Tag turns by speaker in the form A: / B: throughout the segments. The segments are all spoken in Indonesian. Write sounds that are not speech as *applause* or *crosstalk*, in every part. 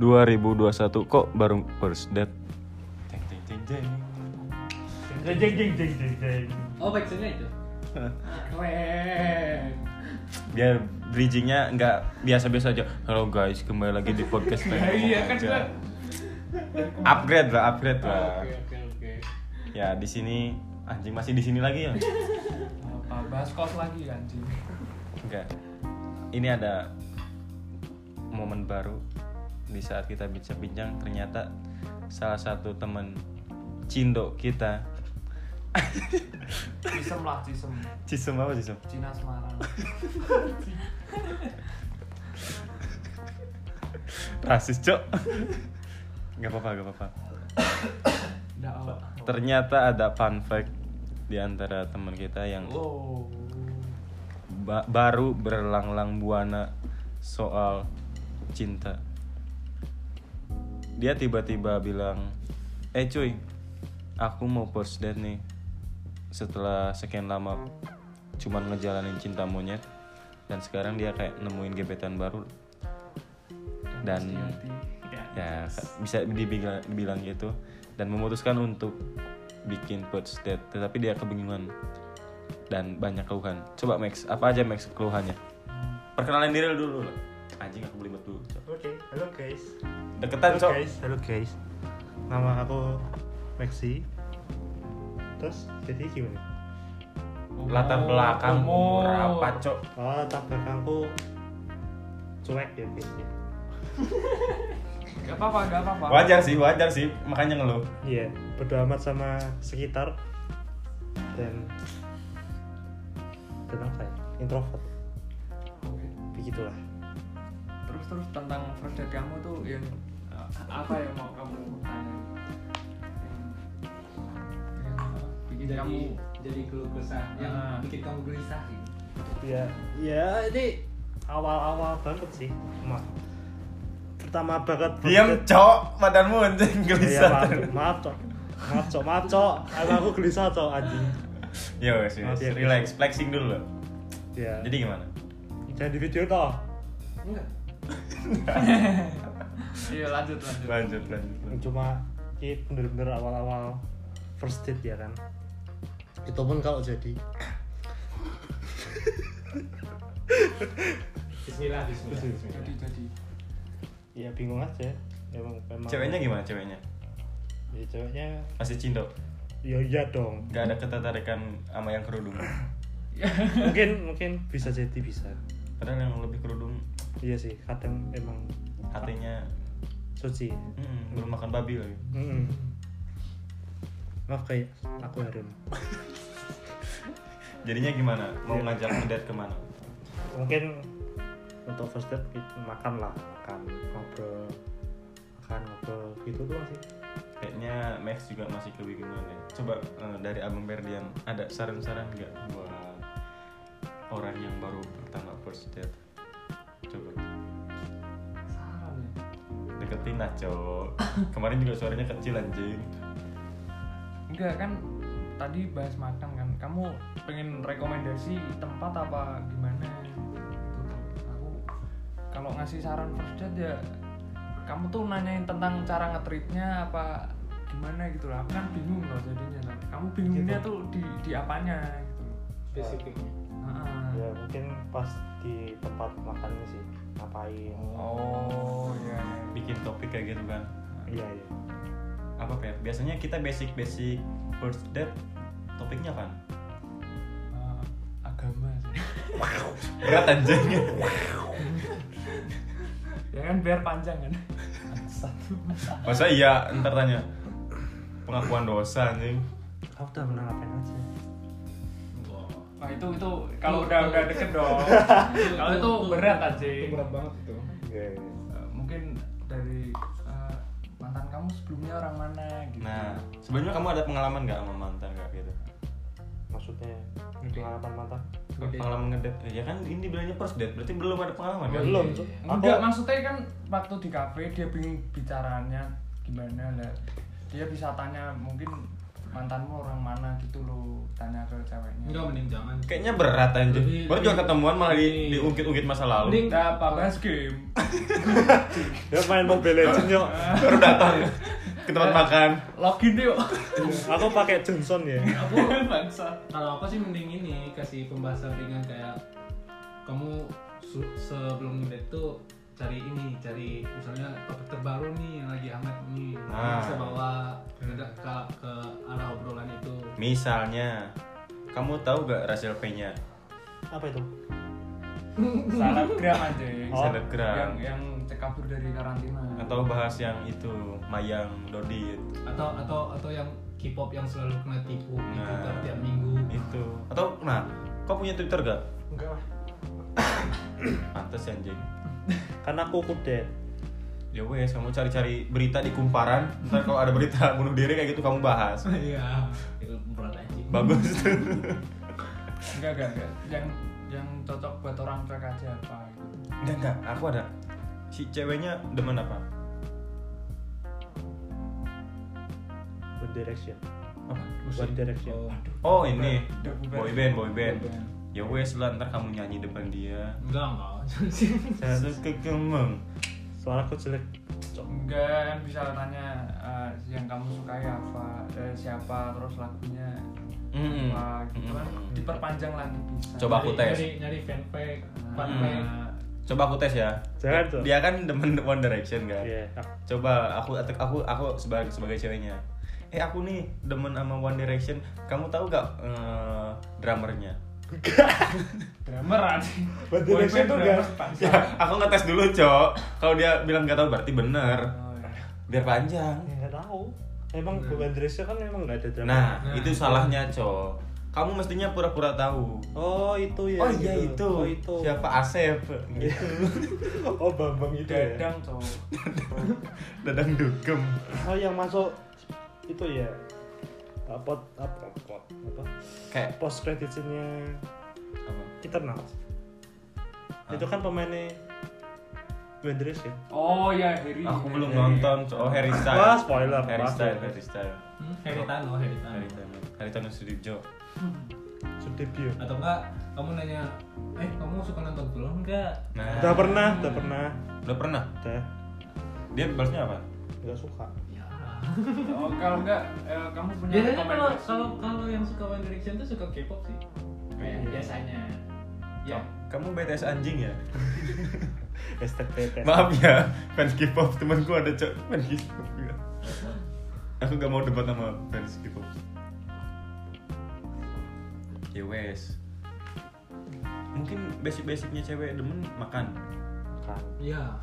A: 2021 kok baru first date? Jeng, jeng, jeng, jeng.
B: Jeng jeng jeng jeng jeng jeng.
C: Oh backsoundnya itu. Ah, Keren.
A: Biar bridgingnya nggak biasa-biasa aja. Halo guys, kembali lagi di
C: *laughs*
A: podcast
C: Iya,
A: Pengen
C: iya,
A: Ngomong
C: kan
A: Aja.
C: gua-
A: Upgrade lah, upgrade lah.
C: Oke oke oke.
A: Ya di sini anjing masih di sini lagi ya?
D: Apa bahas kos lagi kan Jim?
A: Enggak. Ini ada momen baru di saat kita bincang-bincang ternyata salah satu temen cindo kita
D: Cisem lah cisem.
A: Cisem apa Cisem?
D: Cina Semarang.
A: Rasis cok *laughs* Gak apa-apa, gak apa-apa
D: Nggak apa.
A: Oh. Ternyata ada fun fact di antara teman kita yang Oh.
D: Wow.
A: ba- baru berlang-lang buana soal cinta. Dia tiba-tiba bilang, "Eh cuy, aku mau first date nih." Setelah sekian lama cuman ngejalanin cinta monyet dan sekarang dia kayak nemuin gebetan baru dan
D: Sejati.
A: ya bisa dibilang, dibilang gitu dan memutuskan untuk bikin first date tetapi dia kebingungan dan banyak keluhan coba Max apa aja Max keluhannya perkenalan diri lu dulu lah anjing aku belibet dulu Cok.
B: Oke, halo guys.
A: deketan cok
B: guys, halo guys. Nama aku Maxi. Terus jadi gimana?
D: Oh.
A: latar belakang umur
D: umur.
A: apa cok
B: Oh, latar belakangku cuek ya kayaknya.
D: Gak apa-apa, gak apa-apa.
A: wajar sih wajar sih makanya ngeluh
B: Iya, bodo amat sama sekitar dan dan apa ya? Introvert.
D: Oke.
B: Begitulah.
D: Terus terus tentang first date kamu tuh yang eh, apa yang mau kamu tanya? eh, Bikin
C: Jadi
D: kamu
C: jadi keluh kesah yang
D: Ah.
C: bikin kamu gelisah gitu.
B: ya ya ini awal-awal banget sih mah pertama banget
A: diam cok badanmu anjing
B: ya,
A: gelisah
B: Iya. maaf, maaf cok maaf cok maaf cok Emang aku gelisah cok anjing
A: ya wes wes,
B: Maaf ya,
A: relax flexing dulu lah.
B: ya
A: jadi gimana
B: jangan di video toh
C: Enggak.
D: Iya lanjut lanjut.
A: lanjut lanjut, lanjut.
B: cuma ini bener-bener awal-awal first date ya kan itu pun kalau jadi
C: Bismillah bismillah.
D: Jadi jadi.
B: ya bingung aja emang memang
A: ceweknya gimana ceweknya
B: ya ceweknya
A: masih cindo
B: ya iya dong
A: Gak ada ketertarikan sama yang kerudung.
B: mungkin mungkin bisa jadi bisa
A: Padahal yang lebih kerudung
B: iya sih kadang emang
A: hatinya
B: suci
A: hmm, belum makan babi lagi.
B: Mm-mm. Maaf kayak aku Harun.
A: Jadinya gimana? Mau
B: Iya.
A: ngajak ngedate kemana?
B: Mungkin untuk first date kita makan lah, makan ngobrol, makan ngobrol gitu doang sih.
A: Kayaknya Max juga masih kebingungan ya. Coba eh, dari Abang Berdian ada saran-saran nggak buat orang yang baru pertama first date? Coba
D: Saran ya.
A: deketin lah
D: *laughs*
A: cowok. Kemarin juga suaranya kecil anjing.
D: Enggak kan tadi bahas makan kan. Kamu pengen rekomendasi tempat apa gimana? Gitu. Aku kalau ngasih saran first date ya kamu tuh nanyain tentang cara ngetritnya apa gimana gitu lah. Aku kan bingung loh jadinya. loh. Kamu bingungnya
B: Gitu.
D: tuh di di apanya gitu. loh.
C: Spesifiknya.
D: Heeh.
B: Ya mungkin pas di tempat makannya sih ngapain?
D: Oh iya. iya.
A: Bikin topik kayak gitu kan.
B: Iya iya.
A: Apa ya? Biasanya kita basic-basic first date topiknya kan?
D: Eh, agama sih.
A: Berat anjing.
D: *laughs* ya kan biar panjang kan. Satu.
A: Masa iya ntar tanya pengakuan dosa anjing.
B: Kamu udah pernah ngapain aja?
D: Nah itu itu kalau
C: Itu-
D: udah
C: itu-
D: udah deket *laughs* dong. kalau itu berat aja.
C: Itu berat banget itu.
B: Iya. iya.
D: Eh, Mungkin dari eh, mantan kamu sebelumnya orang mana gitu.
A: Nah, sebelumnya kamu ada pengalaman nggak sama mantan nggak gitu?
B: Maksudnya pengalaman mantan?
C: Oke.
A: Pengalaman ngedate? Ya kan ini bilangnya first date, berarti belum ada pengalaman kan?
B: Belum.
C: iya,
B: Cuk.
C: iya.
B: Aku
D: Enggak, maksudnya kan waktu di kafe dia bingung bicaranya gimana lah. Dia bisa tanya mungkin mantanmu orang mana gitu loh tanya ke ceweknya
C: Enggak mending jangan.
A: Kayaknya berat anjir.
C: Lebih-
A: Baru juga ketemuan malah di,
C: Iya.
A: diungkit-ungkit masa lalu.
C: Mending-
D: Nah, apa bahas game
B: ya main Mobile Legends yuk
A: Baru datang ke tempat makan.
D: *laughs* login yuk *laughs*
B: aku pakai Johnson ya
C: Aku
D: bangsa
C: kalau aku sih mending ini kasih pembahasan ringan kayak kamu su- sebelum ngedate tuh cari ini, cari misalnya topik terbaru nih yang lagi hangat nih.
A: Ah.
C: Bisa bawa ke, ke, ke arah obrolan itu.
A: Misalnya, kamu tahu gak Rachel P-nya?
B: apa itu
D: selebgram anjing
B: Oh.
D: ya. yang
A: Selebgram.
D: yang cek kabur dari karantina
A: Atau bahas yang itu, Mayang Dodit.
C: Atau atau atau yang K-pop yang selalu kena tipu di
A: Nah.
C: Twitter tiap minggu.
A: Itu. Atau, nah, kau punya Twitter gak?
B: enggak lah
A: Pantes anjing.
B: karena aku kudet
A: Ya wes, kamu cari-cari berita di kumparan. Ntar kalau ada berita bunuh diri kayak gitu kamu bahas.
C: Iya, itu berat anjing.
A: Bagus tuh.
D: enggak enggak enggak yang yang cocok buat orang cuek aja apa gitu
A: Enggak, enggak. Aku ada. Si ceweknya demen apa?
B: One Direction
A: Apa?
B: One Direction
C: Oh.
A: Oh ini,
D: The Boyband.
A: boyband, boyband.
C: Boyband.
A: Ya wes lah, ntar kamu nyanyi depan dia.
C: Enggak, enggak.
B: Dan
A: Kekemeng.
B: soalnya aku jelek
D: enggak kan bisa tanya eh, yang kamu sukai apa eh, siapa terus lagunya
A: Mm-mm.
D: apa gitu kan
A: Mm-mm.
D: diperpanjang lagi bisa
A: Hmm. Coba aku
C: Nyari-
A: tes.
C: Nyari, nyari fanpage,
D: Nah,
C: fanpage.
A: Coba aku tes ya.
B: Jangan, tuh.
A: Dia kan demen One Direction kan.
B: ya
A: Coba aku aku aku sebagai sebagai ceweknya. Eh aku nih demen sama One Direction. Kamu tahu gak eh, drummernya?
D: drummer anjing
B: Buat direction tuh enggak.
A: Ya, aku ngetes dulu, Cok. Kalau dia bilang gak tahu berarti bener. Biar panjang.
B: ya nggak tahu emang One Direction kan emang nggak ada drama
A: Nah,
C: Nah.
A: itu salahnya, Cok. Kamu mestinya pura-pura tahu.
B: oh itu ya
A: Oh iya
B: gitu.
A: itu.
B: oh itu
A: Siapa Asep gitu.
B: oh Bambang itu ya
D: dadang cowok
A: *laughs* Dadang dugem.
B: oh yang masuk itu ya apa apa apa apa
A: Kayak
B: post credit scene-nya
A: apa?
B: Eternals itu kan pemainnya One Direction
D: oh ya Harry
A: Aku belum
D: Harry.
A: nonton. Cok. Oh, Harry Styles.
B: Iya. Wah, spoiler.
A: Harry
B: Wah,
A: Styles,
B: spoiler.
A: Harry Styles.
C: Hmm, Heritano, Heritano.
A: Harry Styles. Harry Styles Sudibjo.
B: Sudebio
C: Atau enggak kamu nanya, "Eh, kamu suka nonton film enggak?"
A: Nah.
B: udah pernah udah pernah
A: Udah pernah?
B: udah
A: Dia balasnya apa?
B: nggak suka
C: Ya.
D: oh kalau enggak eh, kamu punya
C: Biasanya kalau
D: rekomendasi
C: kalau kalau yang suka One Direction tuh suka K-pop sih. Kayak
B: Iya.
C: biasanya. Ya.
A: Kamu BTS anjing ya?
B: hashtag BTS
A: Maaf ya, fans K-pop temanku ada cok fans K-pop juga. Aku gak mau debat sama fans K-pop. Ya wes. Mungkin basic-basicnya cewek demen makan.
B: kan
C: Iya.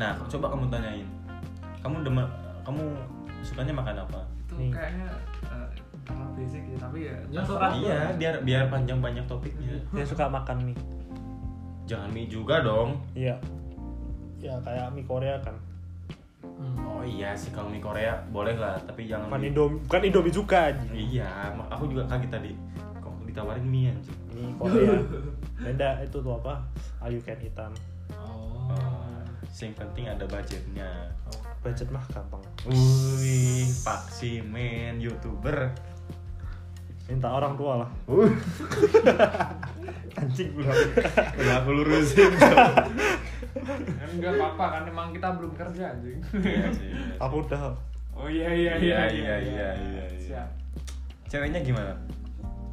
A: Nah, coba kamu tanyain. Kamu demen kamu sukanya makan apa?
D: itu
B: Nih.
D: kayaknya eh, sangat basic ya tapi ya
C: Ya,
D: terserah.
C: Aku.
A: Iya, biar biar panjang-panjang topiknya.
B: dia suka makan mie
A: Jangan mie juga dong.
B: iya ya kayak mie Korea kan
C: Hmm.
A: Oh iya sih kalau mie Korea boleh lah, tapi jangan
B: bukan
A: mie-
B: Indomie bukan Indomie juga anjing.
A: Iya, mak- aku juga kaget tadi. Kok ditawarin mie anjing?
B: mie Korea beda itu tuh apa all you can hitam
C: Oh.
A: Yang Eh, penting ada budgetnya.
B: budget mah gampang
A: Wih, paksi men youtuber. *laughs*
B: minta orang tua lah
A: Uh,
B: anjing
A: udah aku lurusin.
D: kan enggak apa-apa kan emang kita belum kerja anjing
B: aku udah
D: oh iya iya
A: Iya, iya, iya, iya, iya.
D: Siap.
A: Ceweknya gimana?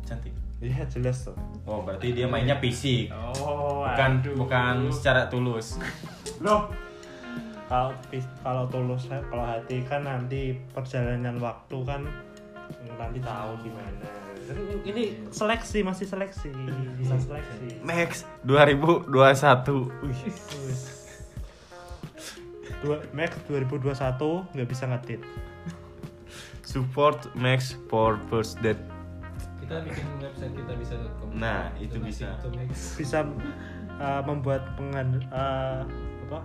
A: Cantik.
B: iya jelas tuh
A: Oh, berarti dia mainnya PC.
D: oh
A: Bukan
D: aduh.
A: bukan secara tulus.
B: loh kalau pis- kalau tulus kalau hati kan nanti perjalanan waktu kan nanti tahu gimana Kan ini seleksi masih seleksi bisa seleksi
A: Max 2021. Wih.
B: Dua, Max 2021 nggak bisa ngedit
A: Support Max for first date.
C: Kita bikin website kita bisa.com.
A: Nah, itu bisa.
B: bisa uh, membuat pengan uh, apa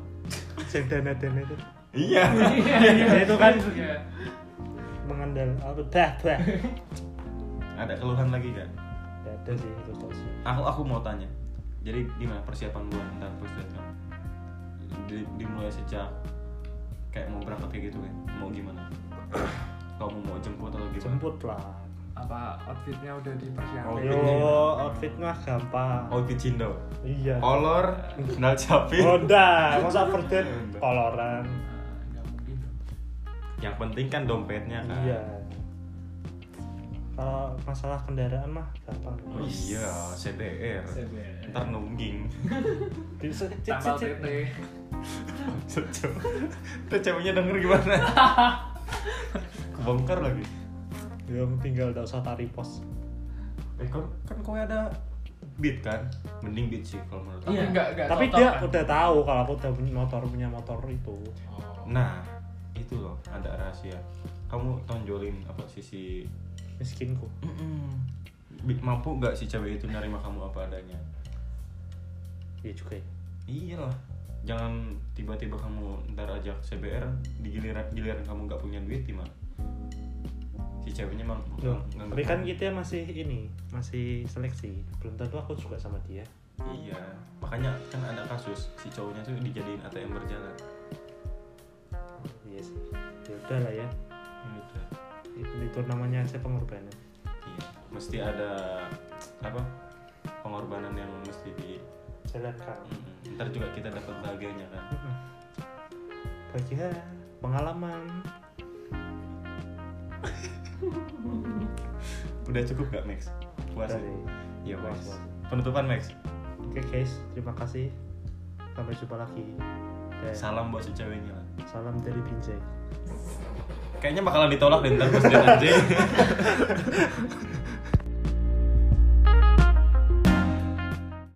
B: cek dana dana itu
A: Iya.
B: Ya, itu kan
D: Iya.
B: mengandal apa dah dah
A: ada keluhan lagi kan?
B: Nggak ada sih itu tau sih
A: aku aku mau tanya jadi gimana persiapan gua tentang first date kamu Di- dimulai sejak kayak mau berangkat kayak gitu kan mau gimana kan? kamu mau jemput atau gimana
B: jemput lah
D: apa outfitnya udah dipersiapkan
A: Outfit.
B: yo outfit mah gampang
A: oh itu cindo
B: iya
A: kolor kenal capi
B: Honda masa first date koloran
D: Nah, nggak mungkin dong.
A: yang penting kan dompetnya kan
B: iya kalau masalah kendaraan mah gampang
A: oh iya CBR
C: CBR.
A: ntar nungging *laughs*
B: Di- se- cit-
D: tambal
B: cit- cit.
D: PP
A: Cocok. Tuh ceweknya denger *laughs* gimana? Kebongkar lagi.
B: Ya, tinggal gak usah tari pos
A: Eh kan, kan kowe ada beat kan? Mending beat sih kalau menurut aku.
D: tapi
C: Iya.
D: nggak nggak
B: tapi
D: cocok,
B: dia
D: kan?
B: udah tahu kalau aku udah punya motor punya motor itu
C: Oh.
A: Nah, itu loh ada rahasia. Kamu tonjolin apa sisi
B: miskinku
A: Bi- mampu nggak si cewek itu nerima kamu apa adanya?
B: iya juga ya
A: Iyalah. Jangan tiba-tiba kamu ntar ajak CBR di giliran giliran kamu nggak punya duit gimana? Si ceweknya mang
B: Loh,
A: nganggep
B: tapi kan
A: kamu-
B: kita masih ini masih seleksi belum tentu aku suka sama dia
A: Iya, makanya kan ada kasus si cowoknya tuh dijadiin ATM berjalan.
B: iya sih ya udah lah ya
A: Yaudah.
B: itu, itu namanya aja pengorbanan
A: Iya, mesti ada apa? Pengorbanan yang mesti di
B: jalankan
A: Mm-mm. Hmm, ntar juga kita dapat bahagianya kan.
B: Mm-mm. bahagia pengalaman
A: Udah cukup gak Max? Puas. ya?
B: dari
A: Iya,
B: puas,
A: Max.
B: puas.
A: Penutupan Max.
B: oke guys terima kasih sampai jumpa lagi dan
A: Salam buat si ceweknya lah.
B: salam dari Binjai *laughs*
A: Kayaknya bakalan ditolak deh ntar pas dia anjing.